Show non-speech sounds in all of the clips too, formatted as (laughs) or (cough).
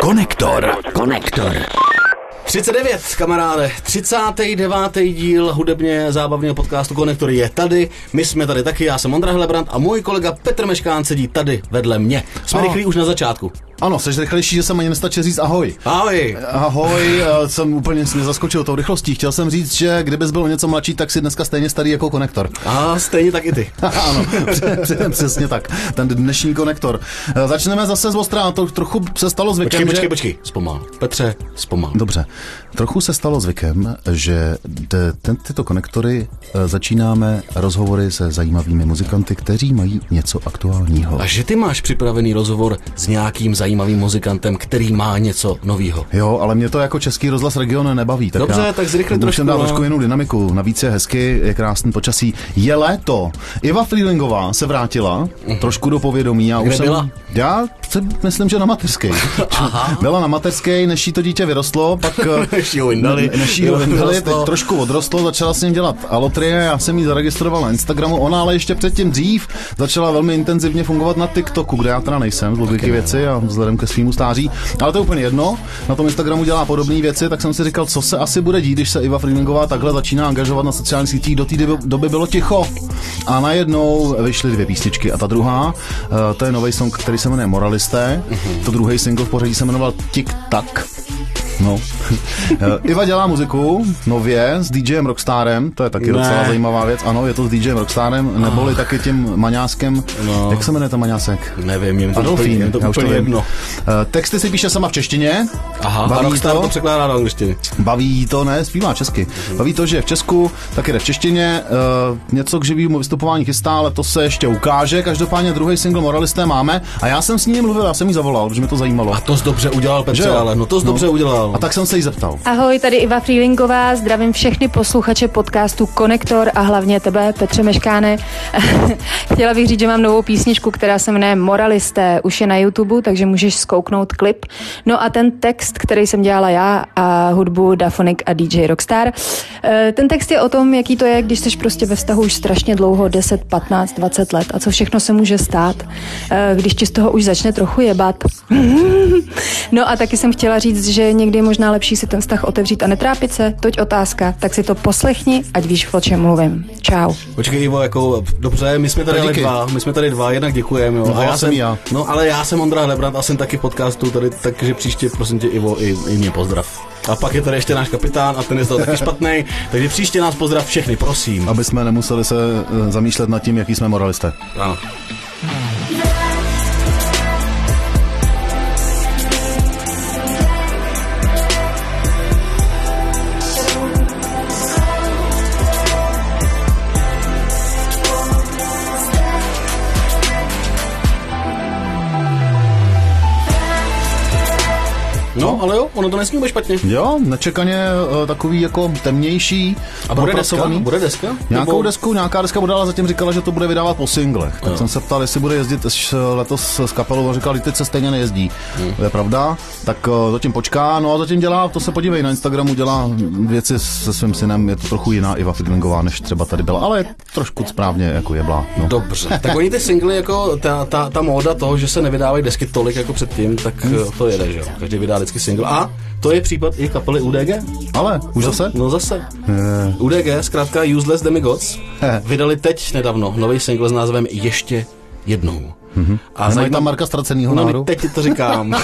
Konektor. Konektor. 39, kamaráde, 39. díl hudebně zábavného podcastu Konektor je tady. My jsme tady taky, já jsem Ondra Helebrant a můj kolega Petr Meškán sedí tady vedle mě. Jsme Ahoj. rychlí už na začátku. Ano, seš rychlejší, že jsem ani nestačil říct ahoj. Ahoj. Ahoj, eh, jsem úplně si nezaskočil tou rychlostí. Chtěl jsem říct, že kdybys byl o něco mladší, tak si dneska stejně starý jako konektor. (laughs) A stejně tak i ty. ano, (laughs) přesně, přesně tak. Ten dnešní konektor. Eh, Začneme zase z Ostra, to trochu se stalo zvykem, Počkej, počkej, že... počkej. Zpomal. Petře, zpomal. Dobře, trochu se stalo zvykem, že d- ten, tyto konektory eh, začínáme rozhovory se zajímavými muzikanty, kteří mají něco aktuálního. A že ty máš připravený rozhovor s nějakým zajímavým muzikantem, který má něco novýho. Jo, ale mě to jako český rozhlas region nebaví. Tak Dobře, já, tak zrychli musím trošku, dát no. trošku jinou dynamiku. Navíc je hezky, je krásný počasí. Je léto. Iva Frýlingová se vrátila trošku do povědomí. Já Mhm. Kde už byla? Jsem, já si myslím, že na mateřské. (laughs) byla na mateřské, než jí to dítě vyrostlo, pak (laughs) eh, Než jí ho vyndali. ne- než jí ho vyndali, teď Vyrostlo. trošku odrostlo, začala s ním dělat alotrie, já jsem ji zaregistroval na Instagramu, ona ale ještě předtím dřív začala velmi intenzivně fungovat na TikToku, kde já teda nejsem z logiky věci a vzhledem ke svýmu stáří, ale to je úplně jedno, na tom Instagramu dělá podobné věci, tak jsem si říkal, co se asi bude dít, když se Iva Freelingová takhle začíná angažovat na sociálních sítích, do té doby- doby bylo ticho a najednou vyšly dvě písničky a ta druhá, eh, to je nový song, který se jmenuje Moralisté, to druhý single v pořadí se jmenoval Tik Tak. No. (laughs) Eh, Iva dělá muziku nově s DJem Rockstarem, to je Ne. Ah. taky ne. docela zajímavá věc. Ano, je to s DJem Rockstarem, neboli taky tím maňáskem. No. No. Jak se jmenuje ten maňásek? Nevím, jen to úplně, Adolfín, jen to já už úplně vím. jedno. Eh, Texty si píše sama v češtině. Aha, a baví jí Rockstar to to, překládá do angličtiny. baví jí to, ne, zpívá česky. Baví to, že je v Česku, tak jde v češtině. eh, něco k živému vystupování chystá, ale to se ještě ukáže. Každopádně druhý single Moralisté máme a já jsem s ní mluvil, já jsem jí zavolal, protože mě to zajímalo. A to jsi dobře udělal, Petře, jo? ale no to jsi dobře udělal. A tak jsem se jí zeptal. Ahoj, tady Iva Frýlingová, zdravím všechny posluchače podcastu Konektor a hlavně tebe, Petře Meškáne. (laughs) Chtěla bych říct, že mám novou písničku, která se jmenuje Moralisté, už je na YouTube, takže můžeš skouknout klip. No a ten text, který jsem dělala já a hudbu Dafonik a DJ Rockstar, eh, ten text je o tom, jaký to je, když jsi prostě ve vztahu už strašně dlouho, 10, 15, 20 let a co všechno se může stát, eh, když ti z toho už začne trochu jebat. (laughs) No a taky jsem chtěla říct, že někdy je možná lepší si ten vztah otevřít a netrápit se. Toť otázka, tak si to poslechni, ať víš, o čem mluvím. Čau. Počkej, Ivo, jako, dobře, my jsme tady Tak ale díky. dva, my jsme tady dva, jednak děkujeme. Jo. No, já jsem já. No, ale já jsem Ondra Hlebrant a jsem taky v podcastu tady, takže příště, prosím tě, Ivo, i, i mě pozdrav. A pak je tady ještě náš kapitán a ten je z toho taky špatný, takže příště nás pozdrav všechny, prosím. Aby jsme nemuseli se eh, zamýšlet nad tím, jaký jsme moralisté. Ano. No, ale jo, ono to nesmí být špatně. Jo, nečekaně eh, takový jako temnější. A bude deska? propracovaný. Bude deska? Nějakou Nebo- desku, nějaká deska bude, ale zatím říkala, že to bude vydávat po singlech. Tak jsem se ptal, jestli bude jezdit s- letos s kapelou a říkal, že teď se stejně nejezdí. Hmm. To je pravda. Tak eh, zatím počká, no a zatím dělá, to se podívej, na Instagramu dělá věci se svým synem, je to trochu jiná Iva Fidlingová, než třeba tady byla, ale je trošku správně jako jeblá. No. Dobře, tak oni ty singly, jako ta, ta, ta móda toho, že se nevydávají desky tolik jako předtím, tak Hmm. eh, to jede, že jo. Každý vydá vždycky single. A to je případ i kapely UDG. Ale už zase? No zase. UDG, zkrátka Useless Demigods, Eh. vydali teď nedávno nový single s názvem Ještě jednou. A Mhm. Nemají zajímavý- tam Marka ztracenýho No, náru? teď ti to (laughs) říkám.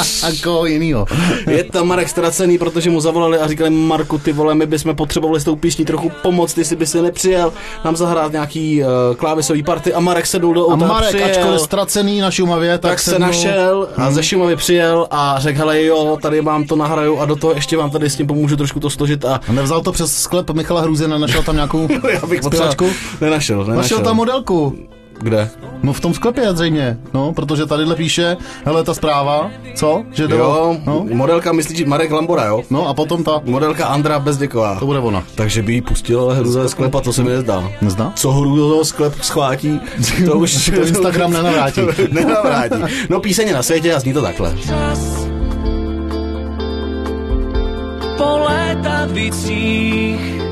A koho jinýho. Je tam Marek ztracený, protože mu zavolali a říkali, Marku, ty vole, my bychom potřebovali s tou písní trochu pomoc, ty si by se nepřijel nám zahrát nějaký uh, klávesový party a Marek sedl do A auta Marek, přijel. ačkoliv ztracený na Šumavě, tak, tak se sednul- našel a ze Šumavy přijel a řekl, hele jo, tady vám to nahraju a do toho ještě vám tady s tím pomůžu trošku to složit a A Nevzal to přes sklep Michala Hruzina, našel (laughs) tam nějakou já bych třeba potřáčku? nenašel, nenašel. Našel tam modelku. Kde? No v tom sklepě zřejmě, no, protože tady píše, hele, ta zpráva, co? Že jde Jo, o- no, modelka myslí, že Marek Lambora, jo? no, a potom ta, Modelka Andra Bezděková. to bude ona. Takže by jí pustil, ale hru ze sklepa, to se mi nezdá. Nezdá? Co hru do toho sklep schvátí, (laughs) to už To Instagram nenavrátí. (laughs) nenavrátí. No píseň je na světě a zní to takhle. čas po létavicích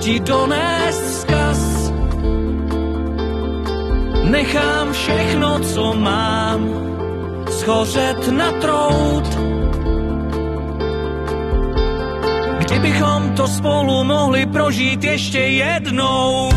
ti donést vzkaz. Nechám všechno, co mám, schořet na trout. Kdybychom to spolu mohli prožít ještě jednou.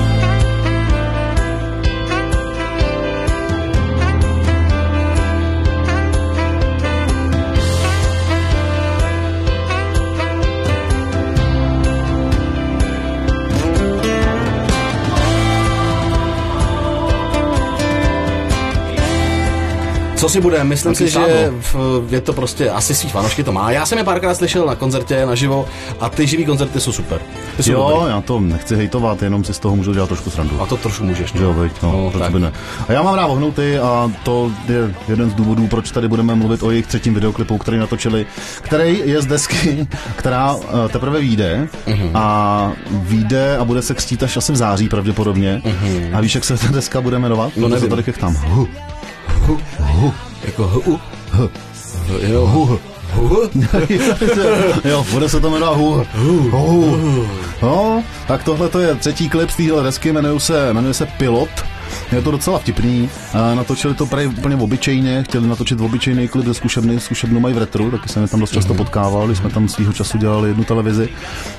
Co si bude, myslím Taky si, že sádlo. v- je to prostě, asi svý fanoušky to má. Já jsem je párkrát slyšel na koncertě naživo a ty živý koncerty jsou super. Ty jsou Jo, dobrý. já to nechci hejtovat, jenom si z toho můžu dělat trošku srandu. A to trošku můžeš. Že jo, veď, no, No, no proč tak. by ne. A já mám rád vohnuty a to je jeden z důvodů, proč tady budeme mluvit o jejich třetím videoklipu, který natočili, který je z desky, (laughs) která eh, teprve vyjde Mhm. a vyjde a bude se křtít až asi v září pravděpodobně. A víš, jak se ta deska bude jmenovat? No Mhm. nevím. tady tam. Hu. Jako hu, jo, hu, hu, hu. (laughs) jo, bude se to jmenovat Hu. Hu. No, tak tohle to je třetí klip z téhle desky, jmenuje se, jmenuje se Pilot. Je to docela vtipný. A natočili to prej úplně obyčejně, chtěli natočit obyčejný klip ze zkušebny, zkušebnu mají v retru, taky jsem je tam dost často Mhm. potkával, když jsme tam svýho času dělali jednu televizi.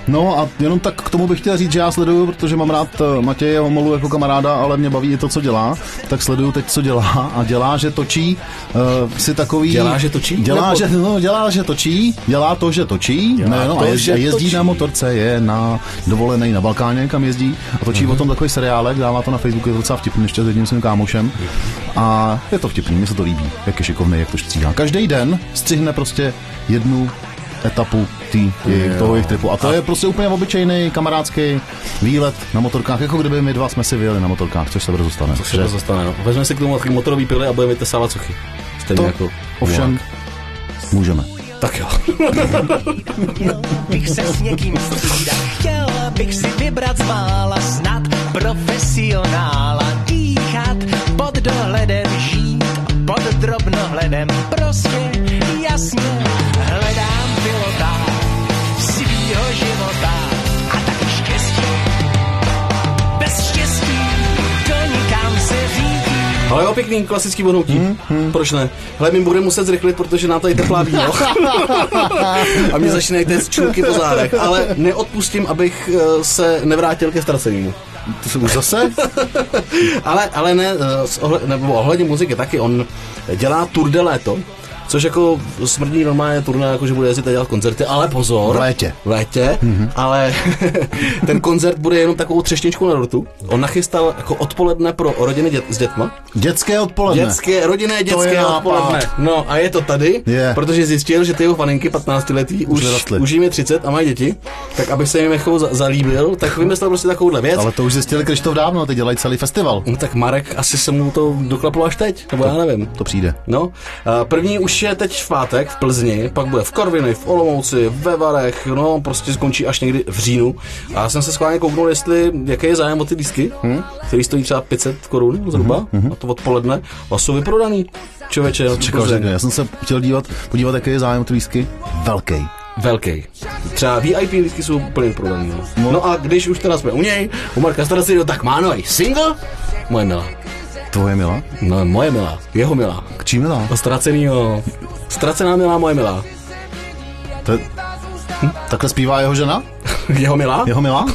No a jenom tak k tomu bych chtěl říct, že já sleduju, protože mám rád eh, Matěje Homolu jako kamaráda, ale mě baví i to, co dělá, tak sleduju teď, co dělá a dělá, že točí uh, si takový... Dělá, že točí? Dělá, Nebo- že No, dělá, že točí, dělá to, že točí, Dělá ne, no, to, a jezdí, že a jezdí točí. na motorce, je na dovolené na Balkáně, kam jezdí a točí Mhm. o tom takový seriálek, dává to na Facebooku, je to docela vtipný, ještě s jedním svým kámošem a je to vtipný, mně se to líbí, jak je šikovný, jak to stříhá. Každý den střihne prostě jednu etapu tý, jejich, toho jejich tripu. A to je prostě úplně obyčejný kamarádský výlet na motorkách, jako kdyby my dva jsme si vyjeli na motorkách, což se brzo stane. Co se to zastane, no. Vezmeme si k tomu taky motorový pily a budeme vytesávat suchy. Stejně to, jako ovšem, můžeme. Tak jo. bych se s někým střídat. Chtěl bych si vybrat z mála snad profesionála. Dýchat pod dohledem, žít pod drobnohledem. Prostě jasně hledám pilota svýho života. A taky štěstí, bez štěstí to nikam se řídí. Ale jo, pěkný, klasický bonutí. Hmm, Proč ne? Hele, my budeme muset zrychlit, protože nám tady teplá (laughs) víno. a mě začínají téct čulky po zádech. Ale neodpustím, abych eh, se nevrátil ke ztracenému. To se už zase? (laughs) Ale, ale ne, eh, s ohled, nebo ohledně muziky taky, on dělá tour de léto, což jako smrdí normálně turné, jako že bude jezdit a dělat koncerty, ale pozor. V létě. Mhm. V létě, mm-hmm. ale (laughs) ten koncert bude jenom takovou třešničku na dortu. On nachystal jako odpoledne pro rodiny dět, s dětma. Dětské odpoledne. Dětské, rodinné To je dětské nápad. odpoledne. No a je to tady, Je. protože zjistil, že ty jeho faninky 15 letý už, vyrostly. už jim je 30 a mají děti, tak aby se jim jako za- zalíbil, tak vymyslel prostě takovouhle věc. Ale to už zjistili Krištof dávno, teď dělají celý festival. No tak Marek asi se mu to doklaplo až teď, nebo já nevím. To přijde. No, a první už je teď v pátek v Plzni, pak bude v Korviny, v Olomouci, ve Varech, no prostě skončí až někdy v říjnu. A já jsem se schválně kouknul, jestli jaký je zájem o ty lístky, hmm? který stojí třeba 500 korun zhruba, hmm? a to odpoledne, a jsou vyprodaný. Člověče, no, Čekal, že Plzeň. kde. Jako Já jsem se chtěl dívat, podívat, jaký je zájem o ty lístky. Velký. Velký. Třeba VIP lístky jsou úplně prodaný. No. No. no. a když už teda jsme u něj, u Marka Staracino, tak má nový single, moje milá. Tvoje milá? No, moje milá, jeho milá. K čí milá? No, ztracenýho. Ztracená milá moje milá. To je... hm? Takhle zpívá jeho žena? Jeho milá? Jeho milá?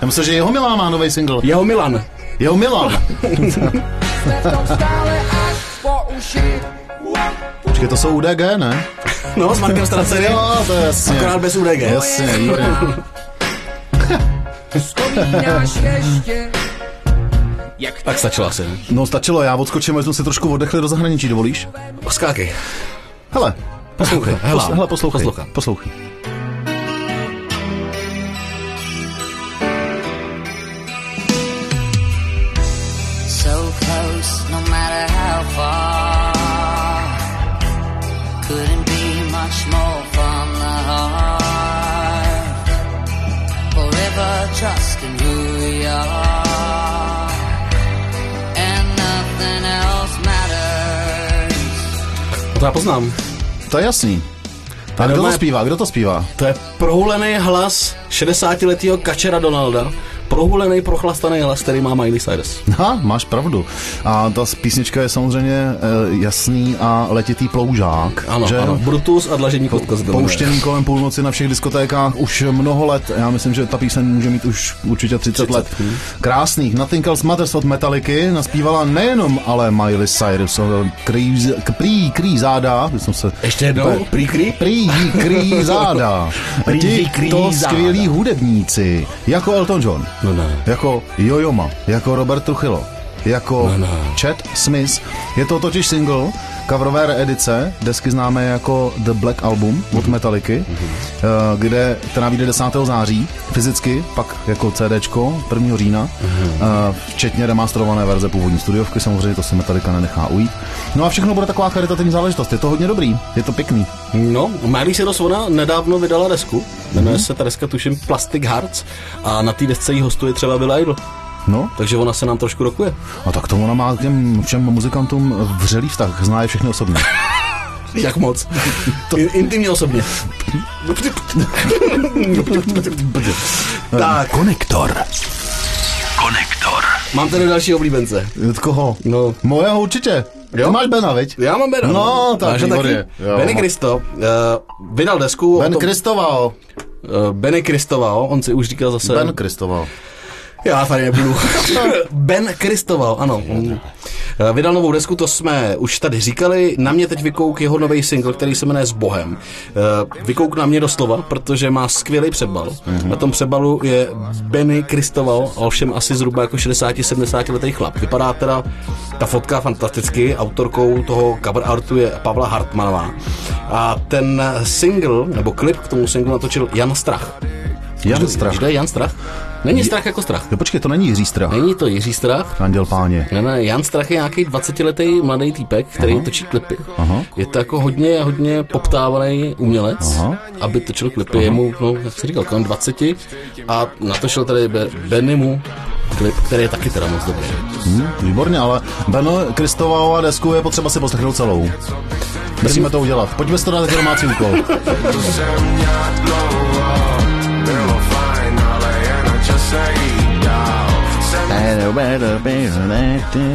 Já myslím, že jeho milá má nový single. Jeho Milan. Jeho milá. Počkej, to jsou UDG, ne? No, s Markem Straceným. Jo, to je jasně. Akorát bez UDG. Jasně, výborně. Tak stačilo asi. ne? No stačilo, já odskočím, až jsme si trošku oddechli do zahraničí, dovolíš? Skákej. Hele, Poslouchej. hele, hele poslouchej. Poslouchám. Poslouchej. so close, no matter how far. Couldn't be much more from the heart. Forever trusting who we are, and nothing else matters. To já poznám. To je jasný. A kdo to normálně- zpívá? Kdo to zpívá? To je prohulený hlas 60-letého kačera Donalda, prohulený, prochlastaný hlas, který má Miley Cyrus. (laughs) Ha, máš pravdu. A ta písnička je samozřejmě eh, jasný a letitý ploužák. Ano, že? ano. Brutus a dlažení kotka z Gomera. Pouštěný kolem půlnoci na všech diskotékách už mnoho let. Já myslím, že ta píseň může mít už určitě 30, 30, 30. let. hm. Krásných. Nothing Else Matters od Metaliky naspívala nejenom ale Miley Cyrus, ale krý, krý, krý záda, když jsem se... Ještě jednou, prý creep. Prý jí (laughs) krý záda. Prý jí Ti krý to záda. skvělí hudebníci, jako Elton John, No ne. jako Jojoma, jako Robert Truchilo, jako No, no. Chad Smith. Je to totiž single, coverové reedice, desky známe jako The Black Album od Metallicy, Mhm. eh, kde, která vyjde 10. září, fyzicky, pak jako CDčko 1. října, Mhm. eh, včetně remasterované verze původní studiovky, samozřejmě to si Metallica nenechá ujít. No a všechno bude taková charitativní záležitost, je to hodně dobrý, je to pěkný. No, Miley Cyrus ona nedávno vydala desku. Jmenuje se ta deska, tuším, Plastic Hearts. A na té desce jí hostuje třeba Bill Idol. No, Takže ona se nám trošku rokuje. a No tak to ona má k těm všem muzikantům vřelý vztah, zná je (laughs) všechny osobně. Jak moc? (laughs) to... Intimně osobně. Eh, tak, Konektor. Konektor. mám tady další oblíbence. Od koho? No, Mojeho určitě. Jo? Ty máš Bena, veď? já mám Bena. No, tak Máš ho výborně. Jo. Benny Kristo uh, vydal desku. Ben o tom- Kristoval. eh, Benny Kristoval, on si už říkal zase. Ben Kristoval. Já tady nebudu. ben Kristoval, ano. On, eh, Vydal novou desku, to jsme už tady říkali. Na mě teď vykouk jeho nový single, který se jmenuje S Bohem. Eh, Vykouk na mě doslova, protože má skvělý přebal. Mhm. Na tom přebalu je Benny Kristoval, ovšem asi zhruba jako 60-70 letý chlap. Vypadá teda ta fotka fantasticky, autorkou toho cover artu je Pavla Hartmanová. A ten single, nebo klip k tomu singlu natočil Jan Strach. Jan Víš, Strach. Kdo je Jan Strach? Není Strach jako Strach. Jo, počkej, to není Jiří Strach. Není to Jiří Strach. Anděl páně. Ne, ne, Jan Strach je nějaký 20-letý mladý týpek, který Aha. točí klipy. Aha. Je to jako hodně, hodně poptávaný umělec, Aha. aby točil klipy. Aha. Jemu, no, jak jsi říkal, kolem 20. A natočil tady Be- Bennymu klip, který je taky teda moc dobrý. Hm, výborně, ale Beno Kristovalova desku je potřeba si poslechnout celou. Musíme to udělat. Pojďme si to dát jako domácí úkol.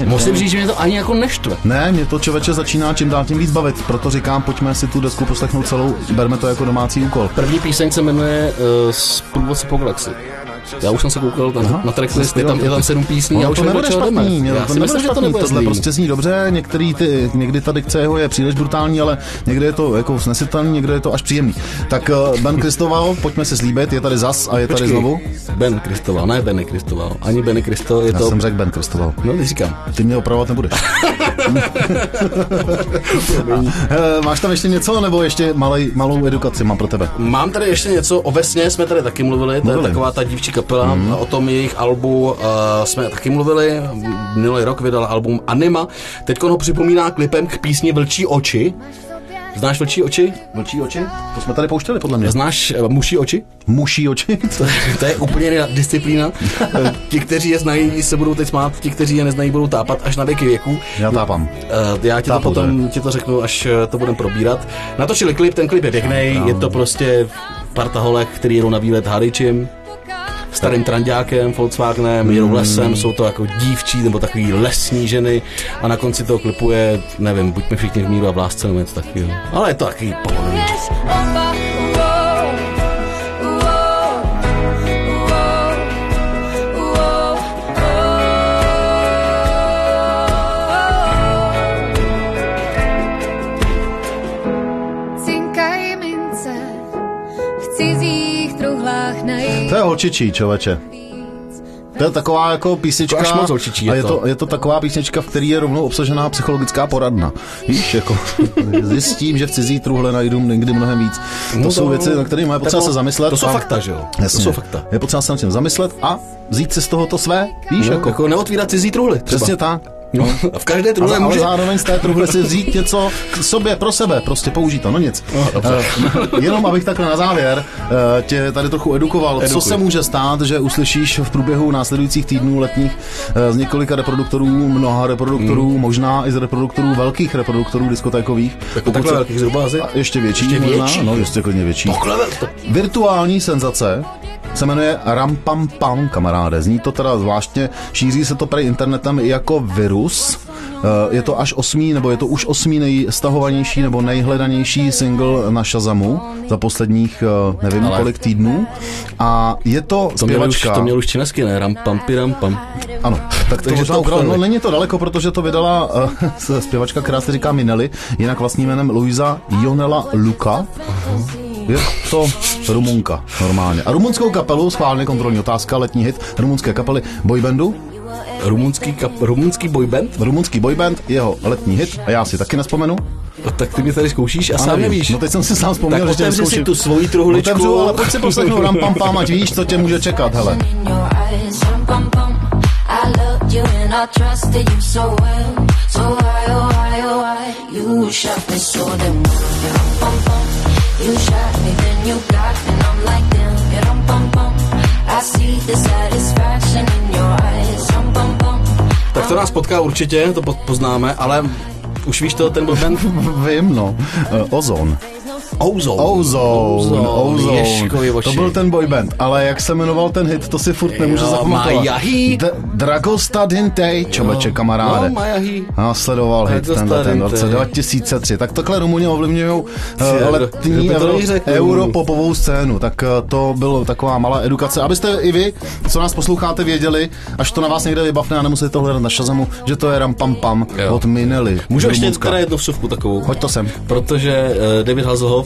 Musím říct, že mě to ani jako neštve. Ne, mě to člověče začíná čím dál tím víc bavit, proto říkám, pojďme si tu desku poslechnout celou, berme to jako domácí úkol. První píseň se jmenuje uh, Průvodce po galaxii. Já už jsem se koukal tam na tracklist, je tam, je tam sedm písní, já Ono už No, to nevím, nebude do čeho špatný, jdeme. mě Já to si nebude myslím, že to špatný, nebude tohle zlý. prostě zní dobře, některý ty, někdy ta dikce jeho je příliš brutální, ale někde je to jako snesitelný, někde je to až příjemný. Tak eh, Ben Kristoval, pojďme se slíbit, je tady zas a je tady Počkej, znovu. Ben Kristoval, ne Benny Kristoval. Ani Benny Kristo je Já to... jsem řekl Ben Kristoval. No, ty říkám. Ty mě opravovat (laughs) nebudeš. Eh, Máš tam ještě něco, nebo ještě malej, malou edukaci mám pro tebe? Mám tady ještě něco, o Vesně jsme tady taky mluvili, to je Mluvili. taková ta dívčí kapela, mm. o tom jejich albu uh, jsme taky mluvili, minulý rok vydala album Anima, teď ho připomíná klipem k písni Vlčí oči. Znáš Vlčí oči? Mlčí oči? To jsme tady pouštěli, podle mě. Znáš uh, Muší oči? Muší (laughs) oči? To, (laughs) to je úplně jiná (laughs) disciplína. Eh, ti, kteří je znají, se budou teď smát, ti, kteří je neznají, budou tápat až na věky věků. Já tápám. Eh, já ti to Tápu, potom ti to řeknu, až eh, to budeme probírat. Natočili klip, ten klip je pěkný, je to prostě parta holek, který jedou na výlet hadičem, starým trandákem, Volkswagenem, jedou Hmm. lesem, jsou to jako dívčí nebo takový lesní ženy a na konci toho klipu je, nevím, buďme všichni v míru a v lásce nebo něco takového. Ale je to takový pohodlný. Cinkají mince v cizích truhlách najít To je holčičí, člověče. víc. To je taková jako písnička. To až moc holčičí je a je to. to. je to taková písnička, v které je rovnou obsažená psychologická poradna. Víš, jako (laughs) zjistím, že v cizí truhle najdu někdy mnohem víc. To No jsou věci, na kterými je potřeba to- se zamyslet. to jsou a- fakta, že jo? Jasně. To jsou fakta. Je potřeba se nad tím zamyslet a vzít si z toho to své. Víš, No, jako, jako neotvírat cizí truhly. Třeba. Přesně tak. No. (laughs) A v každé Ale, truhle ale může... zároveň z té truhle si vzít něco k sobě, pro sebe, prostě použít to, no nic. Eh, (laughs) jenom abych takhle na závěr eh, tě tady trochu edukoval, Edukuj. co se může stát, že uslyšíš v průběhu následujících týdnů letních eh, z několika reproduktorů, mnoha reproduktorů, hmm. možná i z reproduktorů, velkých reproduktorů diskotékových. Jako takhle se- velkých zhruba asi. A ještě větší, Ještě možná, větší. no ještě klidně větší. Takhle velký. Virtuální senzace, se jmenuje Rampam Pam, kamaráde. Zní to teda zvláštně, šíří se to tady internetem i jako virus. Eh, Je to až osmý, nebo je to už osmý nejstahovanější nebo nejhledanější single na Shazamu za posledních, eh, nevím, Ale- kolik týdnů. A je to To měl, už, zpěvačka. to měl už činesky, ne? Ram, pam, pi, ram, pam. Ano, tak to Takže možná to ukradl. No ukradli. není to daleko, protože to vydala uh, (laughs) zpěvačka, která se říká Minelli, jinak vlastním jménem Luisa Jonela Luka. Je to Rumunka normálně. A rumunskou kapelu, schválně kontrolní otázka, letní hit rumunské kapely boybandu, Rumunský, kap, rumunský boyband? rumunský boyband, jeho letní hit, a já si taky nespomenu. No, tak ty mě tady zkoušíš a, A sám nevíš. No teď jsem si sám vzpomněl, Tak že tě otevři si zkouším. tu svoji truhličku. Otevřu, ale pojď si poslechnu ram pam pam, ať víš, co tě může čekat, (laughs) hele. in your eyes, rum bum bum. I loved you and I trusted you so well. So why, oh why, oh why, you shot me so damn well. You rum bum bum, you shot me, then you got me, and I'm like damn. You rum bum bum, I see the satisfaction in your eyes, rum bum bum. Tak to nás potká určitě, to po- poznáme, ale už víš to, ten byl band Vím, no. Eh, Ozon. Ozone. Ozone, Ozone. Ježkovi oči. To byl ten boyband, ale jak se jmenoval ten hit, to si furt nemůžu Jo, zapamatovat. Majahi. D- Dragostadintej, čověče kamaráde. No, Majahi. A sledoval hit tenhle ten v roce 2003. Tak takhle Rumuni ovlivňují eh, Ty, letní kdo by to euro, řekl? europopovou scénu. Tak eh, to byla taková malá edukace. Abyste i vy, co nás posloucháte, věděli, až to na vás někde vybavne a nemusíte to hledat na Shazamu, že to je Ram Pam Pam Jo. od Minely. Můžu z ještě Rumunska. teda jednu vsuvku takovou. Hoď to sem. Protože eh, David (laughs) Hazelhoff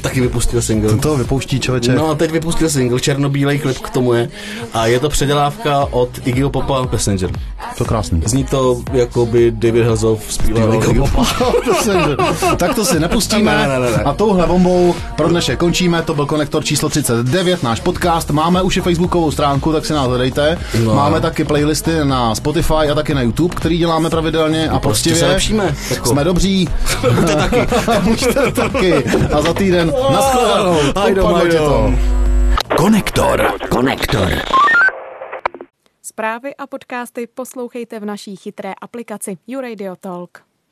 taky vypustil single. To vypouští čověče. No a teď vypustil single, černobílej klip k tomu je. A je to předělávka od Iggy Popa Passenger. To krásný. Zní to, jako by David Hazelhoff zpíval Iggy Popa. (laughs) To jsem- tak to si nepustíme Ne, ne, ne, ne. a touhle bombou pro dnešek končíme, to byl konektor číslo 39, náš podcast, máme už i facebookovou stránku, tak si nás hledejte, No. máme taky playlisty na Spotify a taky na YouTube, který děláme pravidelně a prostě prostě se lepšíme, jako. (laughs) jsme dobří. Buďte taky. (laughs) Buďte taky. A za týden nashledanou. hajdom, Upadlo tě to. hajdom. Konektor. Konektor. Zprávy a podcasty poslouchejte v naší chytré aplikaci YouRadio Talk.